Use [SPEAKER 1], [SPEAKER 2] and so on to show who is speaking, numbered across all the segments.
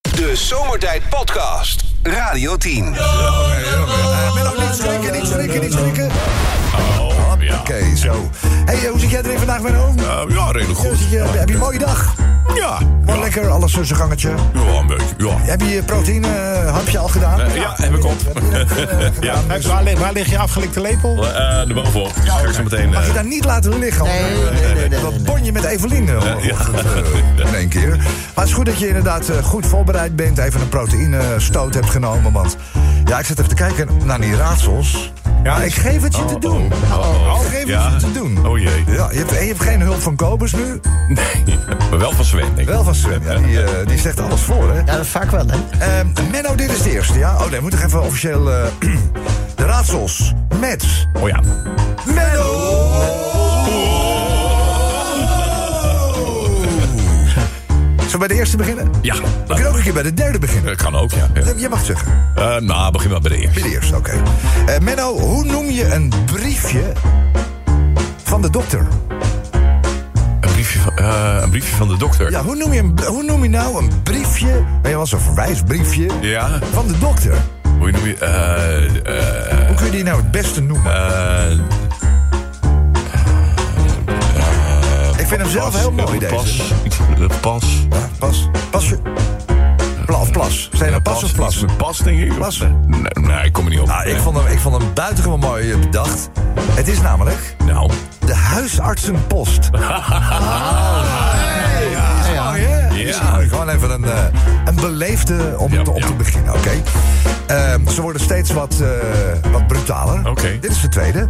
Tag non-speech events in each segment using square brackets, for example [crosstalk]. [SPEAKER 1] De Zomertijd Podcast. Radio 10.
[SPEAKER 2] Eh, Menno, niet schrikken, niet schrikken, niet schrikken.
[SPEAKER 3] Oh, ja.
[SPEAKER 2] Oké, zo. hey, eh, hoe zit jij erin vandaag, Menno?
[SPEAKER 3] Eh, ja, redelijk
[SPEAKER 2] Ja,
[SPEAKER 3] goed.
[SPEAKER 2] zit je- heb je een mooie dag?
[SPEAKER 3] Ja.
[SPEAKER 2] Maar
[SPEAKER 3] ja.
[SPEAKER 2] lekker, alles zo'n gangetje.
[SPEAKER 3] Ja, een beetje. Ja.
[SPEAKER 2] Heb je je proteïne eh, hapje al gedaan?
[SPEAKER 3] Eh, ja, heb ik op.
[SPEAKER 2] Heb je dat, eh, gedaan?
[SPEAKER 3] [laughs] Ja.
[SPEAKER 2] Dus
[SPEAKER 4] Waar, li- waar ligt je afgelikte lepel?
[SPEAKER 3] Eh, de bovenop. Ga ik zo meteen.
[SPEAKER 2] Mag je
[SPEAKER 3] eh,
[SPEAKER 2] daar niet laten liggen? want,
[SPEAKER 5] Nee,
[SPEAKER 2] eh,
[SPEAKER 5] nee, nee, nee, nee,
[SPEAKER 2] Dat
[SPEAKER 5] nee.
[SPEAKER 2] bon je met Evelien eh, vanochtend, eh, in één keer. Maar het is goed dat je inderdaad eh, goed voorbereid bent. Even een proteïne-stoot hebt genomen. Want ja, ik zit even te kijken naar die raadsels. Ja, ik geef het je te doen. Ik geef
[SPEAKER 3] Oh, Ja.
[SPEAKER 2] het je te doen.
[SPEAKER 3] Oh jee.
[SPEAKER 2] Ja, je hebt, en je hebt geen hulp van Kobus nu.
[SPEAKER 3] Nee, maar [laughs] wel van Sven, denk ik.
[SPEAKER 2] Wel van Sven, ja, die, eh, die zegt alles voor, hè?
[SPEAKER 5] Ja, vaak wel, hè?
[SPEAKER 2] Ehm, Menno, dit is de eerste, ja? Oh nee, moet ik even officieel... eh, [clears throat] de raadsels met
[SPEAKER 3] Oh ja.
[SPEAKER 2] Menno! Zullen we bij de eerste beginnen?
[SPEAKER 3] Ja.
[SPEAKER 2] We
[SPEAKER 3] Nou,
[SPEAKER 2] kunnen ook een keer bij de derde beginnen.
[SPEAKER 3] dat kan ook, ja. ja.
[SPEAKER 2] Je mag het zeggen.
[SPEAKER 3] Eh, nou, begin maar bij de
[SPEAKER 2] Bij
[SPEAKER 3] eerste.
[SPEAKER 2] de eerste, oké. Eh, Menno, hoe noem je een briefje van de dokter?
[SPEAKER 3] Een briefje van, eh, een briefje van de dokter.
[SPEAKER 2] Ja, hoe noem je, een, hoe noem je nou een briefje... Weet je wel, zo'n verwijsbriefje
[SPEAKER 3] Ja.
[SPEAKER 2] van de dokter?
[SPEAKER 3] Hoe noem je... eh, eh,
[SPEAKER 2] Hoe kun je die nou het beste noemen?
[SPEAKER 3] eh,
[SPEAKER 2] Ik vind hem zelf heel mooi, deze.
[SPEAKER 3] Pas. Eh, Pas.
[SPEAKER 2] Ja, pas. Pasje. Pla, of plas. Zijn er pas of plas?
[SPEAKER 3] Iets met Pas, denk ik.
[SPEAKER 2] Pas.
[SPEAKER 3] Nee, nee, ik kom er niet op.
[SPEAKER 2] Nou, ik vond, hem, ik vond hem buitengewoon mooi eh, bedacht. Het is namelijk
[SPEAKER 3] Nou.
[SPEAKER 2] de
[SPEAKER 3] [laughs]
[SPEAKER 2] huisartsenpost. Oh,
[SPEAKER 5] Ja, ja.
[SPEAKER 2] Ja.
[SPEAKER 3] Ja.
[SPEAKER 2] Gewoon even een, eh, een beleefde om
[SPEAKER 3] Ja,
[SPEAKER 2] te, op
[SPEAKER 3] ja.
[SPEAKER 2] te beginnen, oké? Ehm, ze worden steeds wat, eh, wat brutaler.
[SPEAKER 3] Oké.
[SPEAKER 2] Dit is de tweede.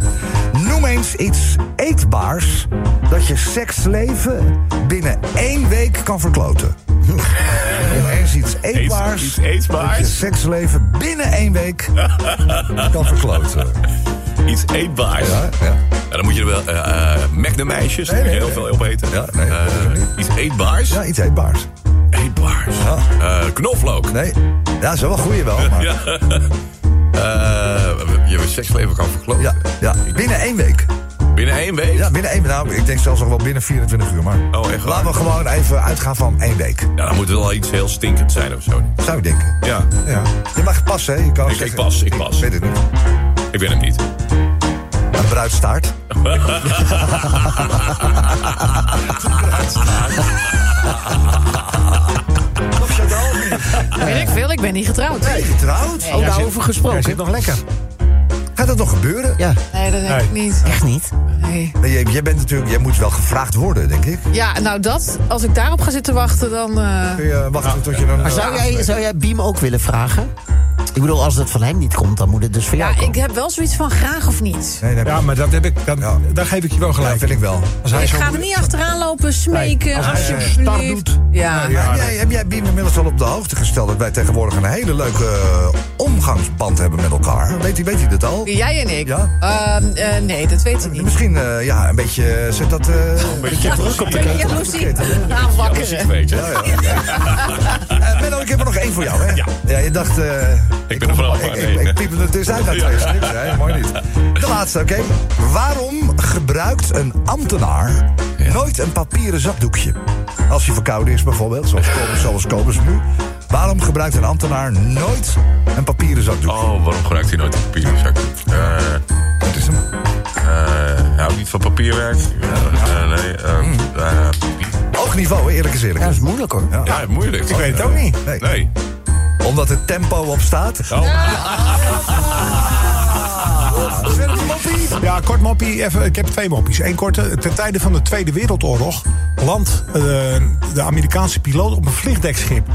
[SPEAKER 2] Noem eens iets eetbaars dat je seksleven binnen één week kan verkloten. Hm. Noem eens iets eetbaars,
[SPEAKER 3] iets eetbaars?
[SPEAKER 2] dat je seksleven binnen één week kan
[SPEAKER 3] [laughs]
[SPEAKER 2] verkloten.
[SPEAKER 3] Iets eetbaars.
[SPEAKER 2] Ja,
[SPEAKER 3] Ja.
[SPEAKER 2] ja.
[SPEAKER 3] dan moet je er wel... eh eh Magnum ijsjes.
[SPEAKER 2] Nee, nee,
[SPEAKER 3] heel
[SPEAKER 2] nee.
[SPEAKER 3] veel op eten. Eh,
[SPEAKER 2] Ja, nee, dat is er niet.
[SPEAKER 3] iets eetbaars.
[SPEAKER 2] ja, iets eetbaars.
[SPEAKER 3] Eetbaars.
[SPEAKER 2] Ja.
[SPEAKER 3] Eh, knoflook.
[SPEAKER 2] Nee, ja, is wel een goeie wel, maar...
[SPEAKER 3] Ja. Eh, je seksleven kan verkloten.
[SPEAKER 2] Ja, ja, binnen één week.
[SPEAKER 3] Binnen één week?
[SPEAKER 2] Ja, binnen één Nou, ik denk zelfs nog wel binnen 24 uur, maar...
[SPEAKER 3] Oh, echt waar?
[SPEAKER 2] Laten we gewoon even uitgaan van één week.
[SPEAKER 3] Ja, dan moet het wel iets heel stinkend zijn of zo.
[SPEAKER 2] Zou ik denken.
[SPEAKER 3] Ja,
[SPEAKER 2] Ja. Je mag passen, hè? Je kan ook
[SPEAKER 3] Ik- ik
[SPEAKER 2] zeggen,
[SPEAKER 3] pas, ik pas.
[SPEAKER 2] weet het niet.
[SPEAKER 3] ik ben hem niet.
[SPEAKER 2] Een bruidstaart. Of Chantal?
[SPEAKER 6] Weet ik veel, ik ben niet getrouwd.
[SPEAKER 2] Nee, getrouwd.
[SPEAKER 5] Oh, daarover
[SPEAKER 4] Jij
[SPEAKER 5] gesproken.
[SPEAKER 4] zit nog lekker.
[SPEAKER 2] Gaat dat nog gebeuren?
[SPEAKER 5] Ja,
[SPEAKER 6] Nee, dat denk
[SPEAKER 4] Nee.
[SPEAKER 6] ik niet.
[SPEAKER 5] echt niet.
[SPEAKER 6] Nee.
[SPEAKER 2] Maar jij, jij bent natuurlijk, jij moet wel gevraagd worden, denk ik.
[SPEAKER 6] Ja, nou dat, als ik daarop ga zitten wachten, dan... eh,
[SPEAKER 2] Kun je wachten tot je dan...
[SPEAKER 5] Maar zou jij, zou jij Biem ook willen vragen? Ik bedoel, als dat van hem niet komt, dan moet het dus van jou
[SPEAKER 6] ja, ik
[SPEAKER 5] komen.
[SPEAKER 6] heb wel zoiets van graag of niet.
[SPEAKER 2] Nee, nee,
[SPEAKER 4] Ja, maar dat heb ik, dat,
[SPEAKER 2] Ja.
[SPEAKER 4] daar geef ik je wel
[SPEAKER 2] ja,
[SPEAKER 4] gelijk.
[SPEAKER 2] vind ik wel.
[SPEAKER 4] Als hij
[SPEAKER 6] Ik
[SPEAKER 4] zo-
[SPEAKER 6] ga er niet achteraan lopen, smeken,
[SPEAKER 4] als hij zo'n
[SPEAKER 6] alsjeblieft.
[SPEAKER 4] start doet.
[SPEAKER 6] Ja.
[SPEAKER 2] heb, jij, heb jij Biem inmiddels al op de hoogte gesteld dat wij tegenwoordig een hele leuke eh, omgangsband hebben met elkaar? Weet hij, weet hij dat al?
[SPEAKER 6] Jij en ik?
[SPEAKER 2] Ja.
[SPEAKER 6] Ehm, eh, nee, dat weet ik niet.
[SPEAKER 2] Misschien eh, ja, een beetje eh, zet dat. eh,
[SPEAKER 3] beetje druk op de
[SPEAKER 6] Ben je jaloezie? Aanwakkeren.
[SPEAKER 3] Weet je.
[SPEAKER 2] [laughs] Eh, Menno, ik heb er nog één voor jou, hè?
[SPEAKER 3] Ja.
[SPEAKER 2] je dacht... eh,
[SPEAKER 3] Ik ben er vanaf.
[SPEAKER 2] ik,
[SPEAKER 3] Nee,
[SPEAKER 2] ik, ik piep het dus uit naar twee snips, hè? Mooi niet. De laatste, oké. Waarom gebruikt een ambtenaar nooit een papieren zakdoekje? Als hij verkouden is bijvoorbeeld, zoals Kobus, zoals Kobus nu. Waarom gebruikt een ambtenaar nooit een papieren zakdoekje?
[SPEAKER 3] Oh, waarom gebruikt hij nooit een papieren zak? Eh,
[SPEAKER 2] Dat is hem.
[SPEAKER 3] eh, hij houdt niet van papierwerk. Eh, eh, nee, eh,
[SPEAKER 2] Hmm.
[SPEAKER 3] eh,
[SPEAKER 2] Oogniveau, hè, eerlijk is eerlijk.
[SPEAKER 5] Ja, dat is moeilijk hoor.
[SPEAKER 3] ja, moeilijk. Ik
[SPEAKER 4] weet het ook niet.
[SPEAKER 2] Nee.
[SPEAKER 3] Nee.
[SPEAKER 2] Omdat het tempo op staat.
[SPEAKER 3] Oh.
[SPEAKER 2] Zet hem op, Piet.
[SPEAKER 4] Ja, kort moppie. Even, ik heb twee moppies. Eén korte. Ten tijde van de Tweede Wereldoorlog landt eh, de Amerikaanse piloot op een vliegdekschip.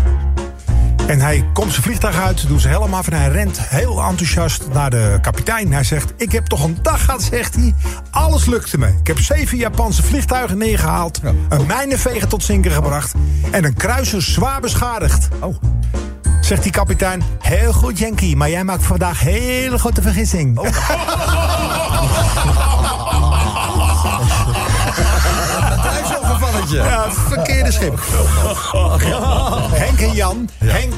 [SPEAKER 4] En hij komt zijn vliegtuig uit, doet zijn helm af en hij rent heel enthousiast naar de kapitein. Hij zegt, ik heb toch een dag gehad, zegt hij. Alles lukte me. Ik heb zeven Japanse vliegtuigen neergehaald. Een mijnenveger tot zinken gebracht. En een kruiser zwaar beschadigd.
[SPEAKER 2] Oh.
[SPEAKER 4] Zegt die kapitein, heel goed Yankee, maar jij maakt vandaag hele grote vergissing.
[SPEAKER 2] Hij is zo'n gevalletje.
[SPEAKER 4] [laughs] Ja, verkeerde schip. Henk en Jan. Henk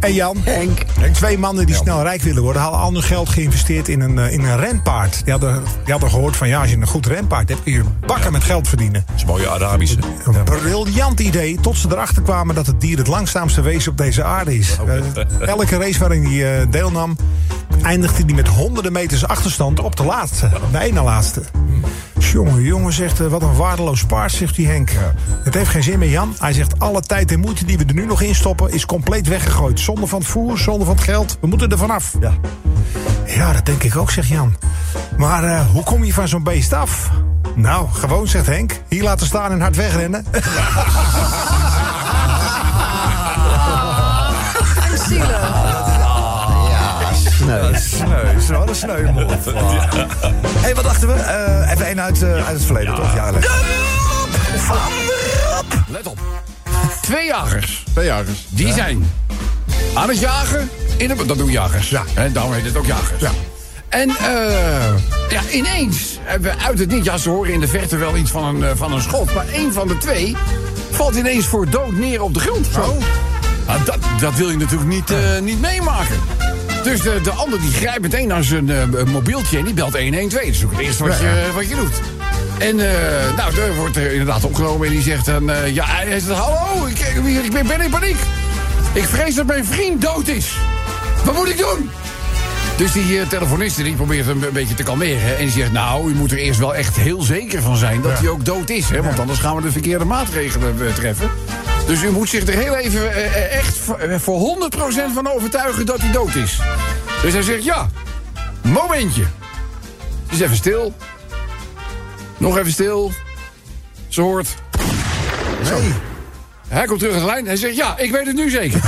[SPEAKER 4] En Jan.
[SPEAKER 5] Henk.
[SPEAKER 4] Twee mannen die snel rijk willen worden, hadden al hun geld geïnvesteerd in een, eh, in een renpaard. Die hadden, die hadden gehoord van ja, als je een goed renpaard hebt, kun je bakken met geld verdienen.
[SPEAKER 7] is een mooie Arabische.
[SPEAKER 4] Een briljant idee, tot ze erachter kwamen dat het dier het langzaamste wezen op deze aarde is. Eh, elke race waarin hij eh, deelnam, eindigde hij met honderden meters achterstand op de laatste, de ene laatste. Jongen, jongen zegt, eh, wat een waardeloos paard, zegt die Henk. Het heeft geen zin meer, Jan. Hij zegt, alle tijd en moeite die we er nu nog in stoppen... is compleet weggegooid. Zonder van het voer, zonder van het geld. We moeten er vanaf. Ja. ja, dat denk ik ook, zegt Jan. Maar eh, hoe kom je van zo'n beest af? Nou, gewoon, zegt Henk. Hier laten staan en hard wegrennen.
[SPEAKER 6] Zielig.
[SPEAKER 2] Sneu. Sneu. Is wel een
[SPEAKER 5] [laughs]
[SPEAKER 2] sneu, hey, wat dachten we? Eh, even één uit, eh, uit het verleden, toch? Ja, lekker.
[SPEAKER 7] Let op. Twee jagers. Twee jagers. Die zijn aan het jagen. In een, dat doen jagers. Ja. En daarom heet het ook jagers. Ja. En eh ja, ineens, hebben we uit het niet, ja, ze horen in de verte wel iets van een, eh, van een schot. Maar één van de twee valt ineens voor dood neer op de grond. Zo. Nou, dat, dat wil je natuurlijk niet, eh, niet meemaken. Dus de, de ander die grijpt meteen naar zijn eh, mobieltje en die belt 112. Dat is ook het eerste wat, je, wat je doet. En eh, nou, er wordt eh, inderdaad opgenomen en die zegt dan... eh, ja, hij zegt, hallo, ik, ik ben- ben in paniek. Ik vrees dat mijn vriend dood is. Wat moet ik doen? Dus die eh, telefoniste die probeert hem een beetje te kalmeren. En die zegt, nou, u moet er eerst wel echt heel zeker van zijn dat hij ook dood is. Hè? Want anders gaan we de verkeerde maatregelen eh, treffen. Dus u moet zich er heel even eh, eh, echt voor, eh, voor 100% van overtuigen dat hij dood is. Dus hij zegt, ja, momentje. Dus even stil. Nog even stil. Ze hoort... Zo. Hij komt terug aan de lijn. Hij zegt, ja, ik weet het nu zeker.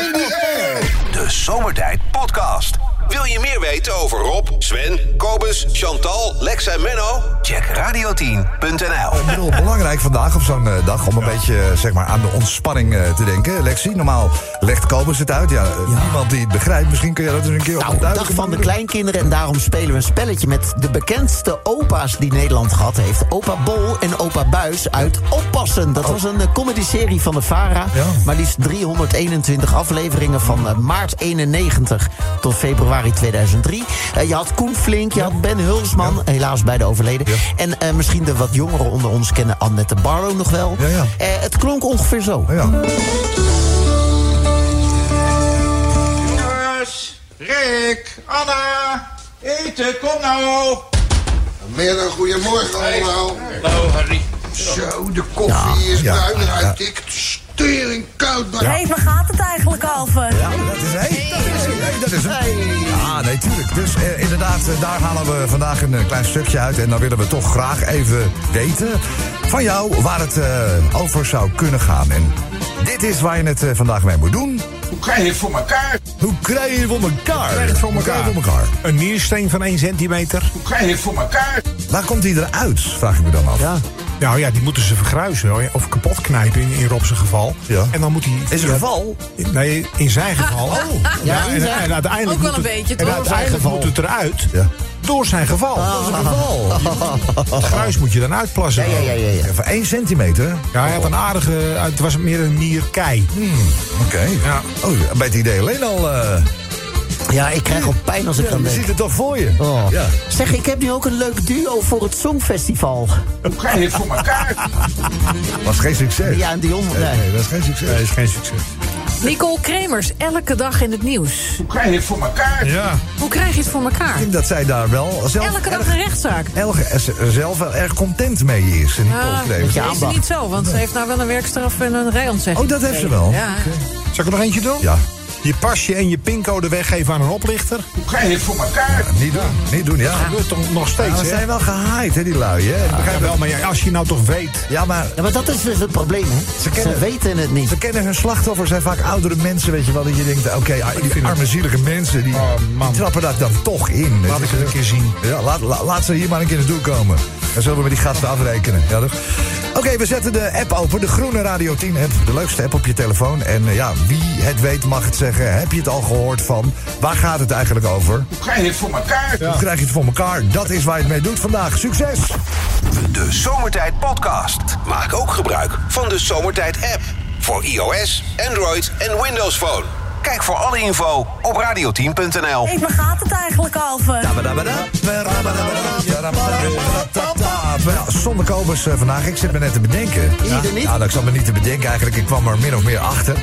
[SPEAKER 1] De Zomertijd Podcast. Wil je meer weten over Rob, Sven, Kobus, Chantal, Lex en Menno? Check radio10.nl.
[SPEAKER 2] Ik bedoel, belangrijk vandaag op zo'n eh, dag om een beetje eh, zeg maar, aan de ontspanning eh, te denken. Lexi, normaal legt Kobus het uit. Ja, eh, Niemand die het begrijpt. Misschien kun je dat eens een keer op
[SPEAKER 5] Nou, dag van de kleinkinderen en daarom spelen we een spelletje met de bekendste opa's die Nederland gehad heeft. Opa Bol en opa Buis uit Oppassen. Dat was een eh, comedyserie van de VARA.
[SPEAKER 2] Oh. Ja.
[SPEAKER 5] Maar liefst 321 afleveringen van eh, maart 91 tot februari 2003. Eh, je had Koen Flink, je had Ben Hulsman, helaas beide overleden. En eh, misschien de wat jongeren onder ons kennen Annette Barlo nog wel.
[SPEAKER 2] Ja, ja.
[SPEAKER 5] Eh, het klonk ongeveer zo.
[SPEAKER 2] Oh Ja.
[SPEAKER 8] Jongens, Rick, Anna, eten, kom nou.
[SPEAKER 9] Meer dan goedemorgen allemaal.
[SPEAKER 8] Hallo Harry.
[SPEAKER 9] Zo, de koffie is
[SPEAKER 2] Ja.
[SPEAKER 9] bruin en hij tikt stering koud bij.
[SPEAKER 10] Hé, waar gaat het eigenlijk over?
[SPEAKER 2] Ja, Nou, dat is hij. Dat is hij. Nee, Dat is hem. Ja, nee, tuurlijk. Dus eh, inderdaad, eh, daar halen we vandaag een eh, klein stukje uit. En dan willen we toch graag even weten van jou waar het eh, over zou kunnen gaan. En dit is waar je het eh, vandaag mee moet doen.
[SPEAKER 8] Hoe krijg je het voor elkaar?
[SPEAKER 2] Hoe krijg je het voor elkaar?
[SPEAKER 4] krijg je het voor
[SPEAKER 2] Hoe krijg je het
[SPEAKER 4] elkaar?
[SPEAKER 2] voor elkaar?
[SPEAKER 4] Een niersteen van 1 centimeter.
[SPEAKER 8] Hoe krijg je het voor elkaar?
[SPEAKER 2] Waar komt die eruit, vraag ik me dan af.
[SPEAKER 5] Ja.
[SPEAKER 4] Nou ja, die moeten ze vergruisen hoor, of kapot knijpen in, in Rob's geval.
[SPEAKER 2] Ja.
[SPEAKER 4] En dan moet hij.
[SPEAKER 2] Is het geval?
[SPEAKER 4] Nee, in zijn geval. Oh,
[SPEAKER 5] Ja, in zijn-
[SPEAKER 4] uiteindelijk
[SPEAKER 6] Ook
[SPEAKER 4] moet
[SPEAKER 6] wel een
[SPEAKER 4] het-
[SPEAKER 6] beetje,
[SPEAKER 4] En
[SPEAKER 6] toch?
[SPEAKER 4] uiteindelijk
[SPEAKER 5] Zijn
[SPEAKER 4] moet het eruit
[SPEAKER 2] Ja.
[SPEAKER 4] door zijn geval. Het gruis moet je dan uitplassen.
[SPEAKER 5] Ja, ja, ja, ja, ja.
[SPEAKER 2] Even 1 centimeter.
[SPEAKER 4] Ja, hij had een aardige. eh, Het was meer een nierkei.
[SPEAKER 2] Oké.
[SPEAKER 4] Ja.
[SPEAKER 2] Oh, bij het idee alleen al. eh,
[SPEAKER 5] [laughs] Ja, ik krijg al pijn als ik aan
[SPEAKER 2] je
[SPEAKER 5] denk.
[SPEAKER 2] ziet het toch voor je.
[SPEAKER 5] Oh.
[SPEAKER 2] Ja.
[SPEAKER 5] Zeg, ik heb nu ook een leuk duo voor het Songfestival.
[SPEAKER 8] Hoe krijg je het voor elkaar?
[SPEAKER 2] Was geen succes.
[SPEAKER 5] Ja, en Dion. eh,
[SPEAKER 2] Nee,
[SPEAKER 5] Nee.
[SPEAKER 2] nee, dat is geen succes.
[SPEAKER 4] Dat is geen succes.
[SPEAKER 6] Nicole Kremers, elke dag in het nieuws.
[SPEAKER 8] Hoe krijg je het voor elkaar?
[SPEAKER 4] Ja.
[SPEAKER 6] Hoe krijg je het voor elkaar?
[SPEAKER 2] Ik denk dat zij daar wel zelf
[SPEAKER 6] Elke dag
[SPEAKER 2] erg,
[SPEAKER 6] een rechtszaak.
[SPEAKER 2] elg- eh, ze- zelf wel erg content mee is. In die
[SPEAKER 6] Ah,
[SPEAKER 2] postgegevens.
[SPEAKER 5] Ja,
[SPEAKER 6] Is het
[SPEAKER 5] aandacht.
[SPEAKER 6] niet zo, want ze heeft nou wel een werkstraf en een rijontzegging.
[SPEAKER 2] Oh, dat heeft ze wel.
[SPEAKER 6] Ja.
[SPEAKER 4] Zal ik er nog eentje doen?
[SPEAKER 2] Ja.
[SPEAKER 4] Je pasje en je pincode weggeven aan een oplichter.
[SPEAKER 8] Hoe krijg je het voor elkaar?
[SPEAKER 2] Niet doen, niet doen, ja.
[SPEAKER 4] Dat gebeurt toch nog
[SPEAKER 2] Ja,
[SPEAKER 4] steeds,
[SPEAKER 2] Ah. we
[SPEAKER 4] hè?
[SPEAKER 2] zijn wel gehaaid, hè, die lui. Hè? Ik
[SPEAKER 4] Ja,
[SPEAKER 2] begrijp
[SPEAKER 4] wel,
[SPEAKER 2] wel.
[SPEAKER 4] maar ja, als je nou toch weet.
[SPEAKER 2] Ja, maar
[SPEAKER 5] Ja, maar dat is dus het probleem, hè? Ze,
[SPEAKER 2] kennen-
[SPEAKER 5] weten het niet.
[SPEAKER 2] ze kennen hun slachtoffers, zijn vaak oudere mensen, weet je wel. Dat je denkt, oké, ah, die arme zielige mensen, die,
[SPEAKER 4] Oh, man.
[SPEAKER 2] die trappen dat dan toch in. weet
[SPEAKER 4] Laat
[SPEAKER 2] je
[SPEAKER 4] ik het een
[SPEAKER 2] wel.
[SPEAKER 4] keer zien.
[SPEAKER 2] Ja, laat, la- laat ze hier maar een keer naartoe komen. Dan zullen we met die gasten afrekenen. Ja, toch? Oké, we zetten de app open. De groene Radio 10 app. De leukste app op je telefoon. En eh, ja, wie het weet mag het zeggen. Heb je het al gehoord van? Waar gaat het eigenlijk over?
[SPEAKER 8] Hoe krijg je het voor elkaar?
[SPEAKER 2] Hoe krijg je het voor elkaar? Dat is waar je het mee doet vandaag. Succes!
[SPEAKER 1] De Zomertijd Podcast. Maak ook gebruik van de Zomertijd app. voor iOS, Android en Windows Phone. Kijk voor alle info op radioteam.nl.
[SPEAKER 10] Eet, maar gaat het eigenlijk, Alve?
[SPEAKER 2] Ja, zonder kobus eh, vandaag. Ik zit me net te bedenken. Ja, nou, ik zat me niet te bedenken eigenlijk. Ik kwam er min of meer achter.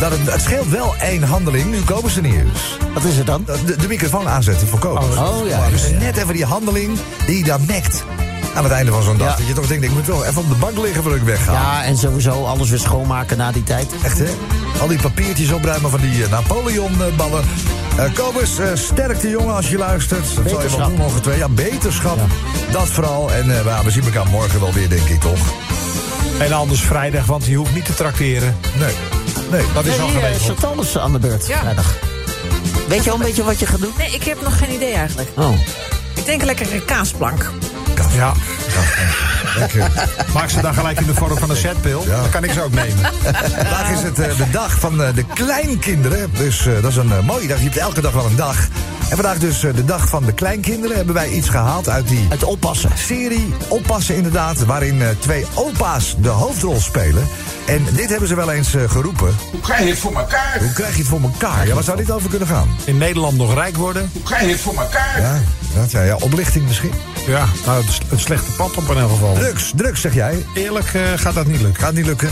[SPEAKER 2] Dat het, het scheelt wel één handeling nu Kobus er niet is.
[SPEAKER 5] Wat is het dan?
[SPEAKER 2] De, de microfoon aanzetten voor Kobus.
[SPEAKER 5] Oh, oh, ja.
[SPEAKER 2] Dus net even die handeling die je dan nekt. Aan het einde van zo'n dag. Dat je toch denkt, ik moet wel even op de bank liggen voordat ik wegga.
[SPEAKER 5] Ja, en sowieso alles weer schoonmaken na die tijd.
[SPEAKER 2] Echt, hè? Al die papiertjes opruimen van die eh, Napoleon-ballen. Kobus, eh, sterkte jongen als je luistert. Dat zal je wel
[SPEAKER 5] Beterschap.
[SPEAKER 2] doen ongetwijfeld. Ja, beterschap. Dat vooral. En eh, nou, we zien elkaar morgen wel weer, denk ik, toch?
[SPEAKER 4] En anders vrijdag, want je hoeft niet te trakteren.
[SPEAKER 2] Nee, nee.
[SPEAKER 4] Dat is al
[SPEAKER 5] Nee, eh,
[SPEAKER 4] geregeld.
[SPEAKER 5] Chantal is aan de beurt
[SPEAKER 6] Ja.
[SPEAKER 5] vrijdag. Weet je al een beetje wat je gaat doen?
[SPEAKER 6] Nee, ik heb nog geen idee eigenlijk.
[SPEAKER 5] Oh.
[SPEAKER 6] Ik denk lekker een kaasplank.
[SPEAKER 4] Ja.
[SPEAKER 2] Lekker.
[SPEAKER 4] Maak ze dan gelijk in de vorm van een setpil.
[SPEAKER 2] Ja.
[SPEAKER 4] Dan kan ik ze ook nemen.
[SPEAKER 2] Vandaag is het eh, de dag van eh, de kleinkinderen. Dus eh, dat is een eh, mooie dag. Je hebt elke dag wel een dag. En vandaag dus eh, de dag van de kleinkinderen. Hebben wij iets gehaald uit die
[SPEAKER 5] Het oppassen.
[SPEAKER 2] serie Oppassen inderdaad, waarin eh, twee opa's de hoofdrol spelen. En dit hebben ze wel eens eh, geroepen.
[SPEAKER 8] Hoe krijg je het voor elkaar?
[SPEAKER 2] Hoe krijg je het voor elkaar? Ja, waar zou dit over kunnen gaan?
[SPEAKER 4] In Nederland nog rijk worden.
[SPEAKER 8] Hoe krijg je het voor elkaar?
[SPEAKER 2] Ja, dat, ja, ja oplichting misschien.
[SPEAKER 4] Ja, nou, het, is het slechte pad op in elk geval.
[SPEAKER 2] Drugs, drugs zeg jij.
[SPEAKER 4] Eerlijk eh, gaat dat niet lukken.
[SPEAKER 2] Gaat niet lukken.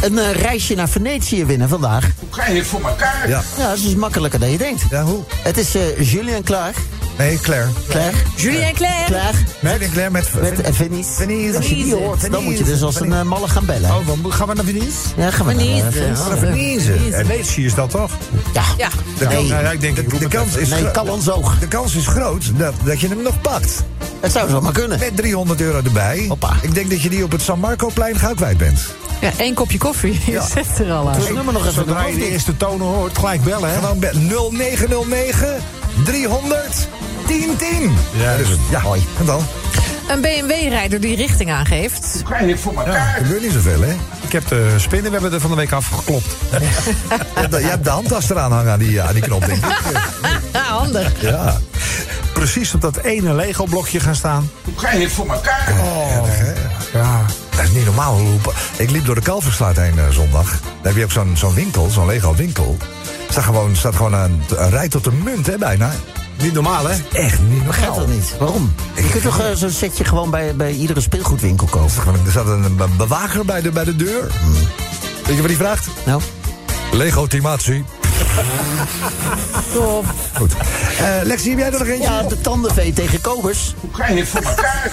[SPEAKER 5] Een eh, reisje naar Venetië winnen vandaag.
[SPEAKER 8] Hoe krijg je het voor elkaar?
[SPEAKER 2] Ja,
[SPEAKER 5] Ja, dat is dus makkelijker dan je denkt.
[SPEAKER 2] ja hoe?
[SPEAKER 5] Het is eh, Julien Klaar.
[SPEAKER 2] Nee, Claire.
[SPEAKER 5] Claire.
[SPEAKER 6] Julien Claire.
[SPEAKER 5] Klaar.
[SPEAKER 2] Nee, ik Claire met...
[SPEAKER 5] Met eh, Venice.
[SPEAKER 2] Venise.
[SPEAKER 5] Als je die hoort, dan moet je dus als een eh, malle gaan bellen.
[SPEAKER 4] Oh, dan gaan we naar Venice?
[SPEAKER 5] Ja, gaan we naar, eh,
[SPEAKER 6] Venise.
[SPEAKER 5] Venice.
[SPEAKER 2] Van Venise. En
[SPEAKER 4] Venetië is dat toch?
[SPEAKER 5] Ja.
[SPEAKER 6] Ja.
[SPEAKER 2] De
[SPEAKER 5] Nee.
[SPEAKER 2] kans,
[SPEAKER 4] Nou ja, ik denk, ik
[SPEAKER 2] de,
[SPEAKER 4] roep
[SPEAKER 2] de
[SPEAKER 4] het
[SPEAKER 2] kans
[SPEAKER 4] even.
[SPEAKER 2] is
[SPEAKER 5] Nee,
[SPEAKER 2] gro-
[SPEAKER 5] kan ons oog.
[SPEAKER 2] de kans is groot dat, dat je hem nog pakt.
[SPEAKER 5] Het zou zo maar kunnen.
[SPEAKER 2] Met 300 euro erbij.
[SPEAKER 5] Hoppa.
[SPEAKER 2] Ik denk dat je die op het San Marcoplein gauw kwijt bent.
[SPEAKER 6] Ja, één kopje koffie. [laughs] Je
[SPEAKER 2] Ja.
[SPEAKER 6] zet er al aan.
[SPEAKER 5] Het nummer nog even
[SPEAKER 4] Zodra
[SPEAKER 5] doen,
[SPEAKER 4] je
[SPEAKER 5] of
[SPEAKER 4] de
[SPEAKER 5] niet?
[SPEAKER 4] eerste tonen hoort, gelijk bellen, hè?
[SPEAKER 2] Gewoon bij 0909 300 1010.
[SPEAKER 4] Ja,
[SPEAKER 2] dat is het. Dus, Ja, hoi. En dan?
[SPEAKER 6] Een BMW-rijder die richting aangeeft.
[SPEAKER 8] Hoe krijg je het voor elkaar?
[SPEAKER 2] Gebeurt niet zoveel, hè?
[SPEAKER 4] Ik heb de spinnenwebben er van de week afgeklopt.
[SPEAKER 2] Je hebt de- Je hebt de handtas eraan hangen aan die, aan die knop, denk ik.
[SPEAKER 4] [laughs]
[SPEAKER 6] Ja, handig.
[SPEAKER 2] Ja.
[SPEAKER 4] Precies op dat ene Lego-blokje gaan staan.
[SPEAKER 8] Hoe krijg je het voor elkaar?
[SPEAKER 4] Oh. Ja.
[SPEAKER 2] Dat is niet normaal. hoe- Ik liep door de Kalverstraat heen eh, zondag. Daar heb je ook zo'n zo'n winkel, zo'n Lego-winkel. Er staat gewoon, staat gewoon een, een rij tot de munt, hè, bijna.
[SPEAKER 4] Niet normaal, hè?
[SPEAKER 2] Echt niet
[SPEAKER 5] Gaat
[SPEAKER 2] normaal.
[SPEAKER 5] dat niet? Waarom? Je kunt toch eh, zo'n setje gewoon bij, bij iedere speelgoedwinkel kopen?
[SPEAKER 2] Gewoon, Er zat een be- bewaker bij de, bij de deur. Hm. Weet je wat die vraagt?
[SPEAKER 5] Nou,
[SPEAKER 2] Legitimatie.
[SPEAKER 6] Top.
[SPEAKER 2] Goed. Eh Lexi, heb jij er nog eentje?
[SPEAKER 5] ja, de tandenvee tegen kobers.
[SPEAKER 8] Hoe krijg je het voor elkaar?